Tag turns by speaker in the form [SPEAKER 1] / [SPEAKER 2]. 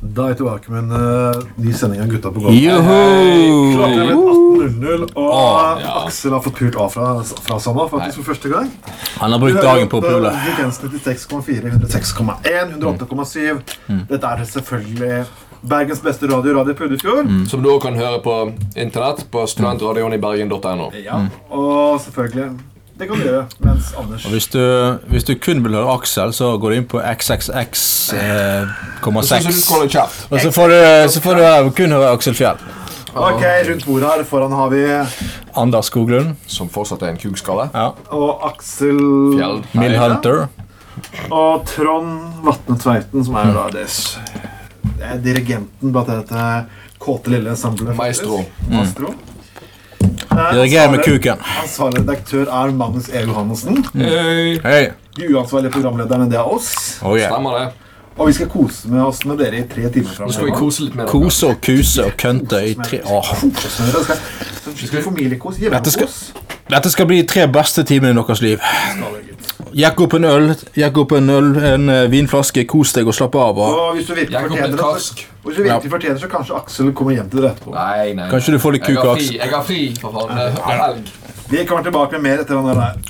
[SPEAKER 1] Da er jeg tilbake med en eh, ny sending av Gutta på gulvet. Klokka er
[SPEAKER 2] Joho!
[SPEAKER 1] blitt 18.00, og
[SPEAKER 2] Å, Ah, ja.
[SPEAKER 1] Aksel har fått pult A fra, fra Sanna faktisk for første gang.
[SPEAKER 2] Han har brukt dagen på å pule.
[SPEAKER 1] eh, Frekvensen 96,4, 106,1, 108,7.
[SPEAKER 2] Mm.
[SPEAKER 1] Dette er selvfølgelig Bergens beste radio, Radio Puddefjord.
[SPEAKER 2] Mm.
[SPEAKER 3] Som du òg kan høre på internett på studentradioen i bergen.no.
[SPEAKER 1] Ja.
[SPEAKER 2] Mm.
[SPEAKER 1] Og selvfølgelig Det kan du gjøre mens Anders
[SPEAKER 2] Hvis du, hvis du kun vil høre Aksel, så går du inn på xxx,6.
[SPEAKER 3] Så synes du skal holde kjeft.
[SPEAKER 2] eh, og så får du, så får du eh, kun høre Aksel Fjell.
[SPEAKER 1] Ok, rundt bordet her foran har vi
[SPEAKER 2] Anders Skoglund.
[SPEAKER 3] Som fortsatt er en kukskalle.
[SPEAKER 2] Ja.
[SPEAKER 1] og Aksel
[SPEAKER 3] Fjell.
[SPEAKER 2] Mill Hunter.
[SPEAKER 1] og Trond Vatne Tveiten, som er jo da
[SPEAKER 3] Mm.
[SPEAKER 1] det s- det er dirigenten bak dette kåte lille ensemblet. faktisk.
[SPEAKER 3] Maestro. Mm.
[SPEAKER 1] Maestro. Eh,
[SPEAKER 2] Dirigerer med
[SPEAKER 1] ansvarlig-
[SPEAKER 2] kuken.
[SPEAKER 1] Ansvarlig redaktør er Magnus E. Johannessen.
[SPEAKER 3] Hei.
[SPEAKER 2] Hei.
[SPEAKER 1] De uansvarlige programlederne, det er oss.
[SPEAKER 2] Oh, yeah.
[SPEAKER 3] Stemmer det.
[SPEAKER 1] Og vi skal kose med oss med dere i tre timer
[SPEAKER 3] Nå skal vi
[SPEAKER 1] framover.
[SPEAKER 3] kose litt med dere.
[SPEAKER 2] Kose og kuse og kønte i tre Åh.
[SPEAKER 1] Familiekos.
[SPEAKER 2] Dette skal-
[SPEAKER 1] Hjemmekos.
[SPEAKER 2] Dette skal bli de tre beste timene i deres liv. Jekk opp en øl, jekk opp en øl, en eh, vinflaske, kos deg og slapp av. Og
[SPEAKER 1] Og hvis du virkelig
[SPEAKER 3] Jeg kommer
[SPEAKER 1] fortjener
[SPEAKER 3] med
[SPEAKER 1] det,
[SPEAKER 3] kask.
[SPEAKER 1] så- hvis du virkelig fortjener det, så kanskje Aksel kommer hjem til dere etterpå.
[SPEAKER 3] Nei, nei.
[SPEAKER 2] Kanskje du får litt
[SPEAKER 3] Jeg har
[SPEAKER 2] kuk,
[SPEAKER 3] fri,
[SPEAKER 2] Aksel.
[SPEAKER 3] Jeg har fri, for faen. Det er helg.
[SPEAKER 1] Vi kommer tilbake med mer etter den der.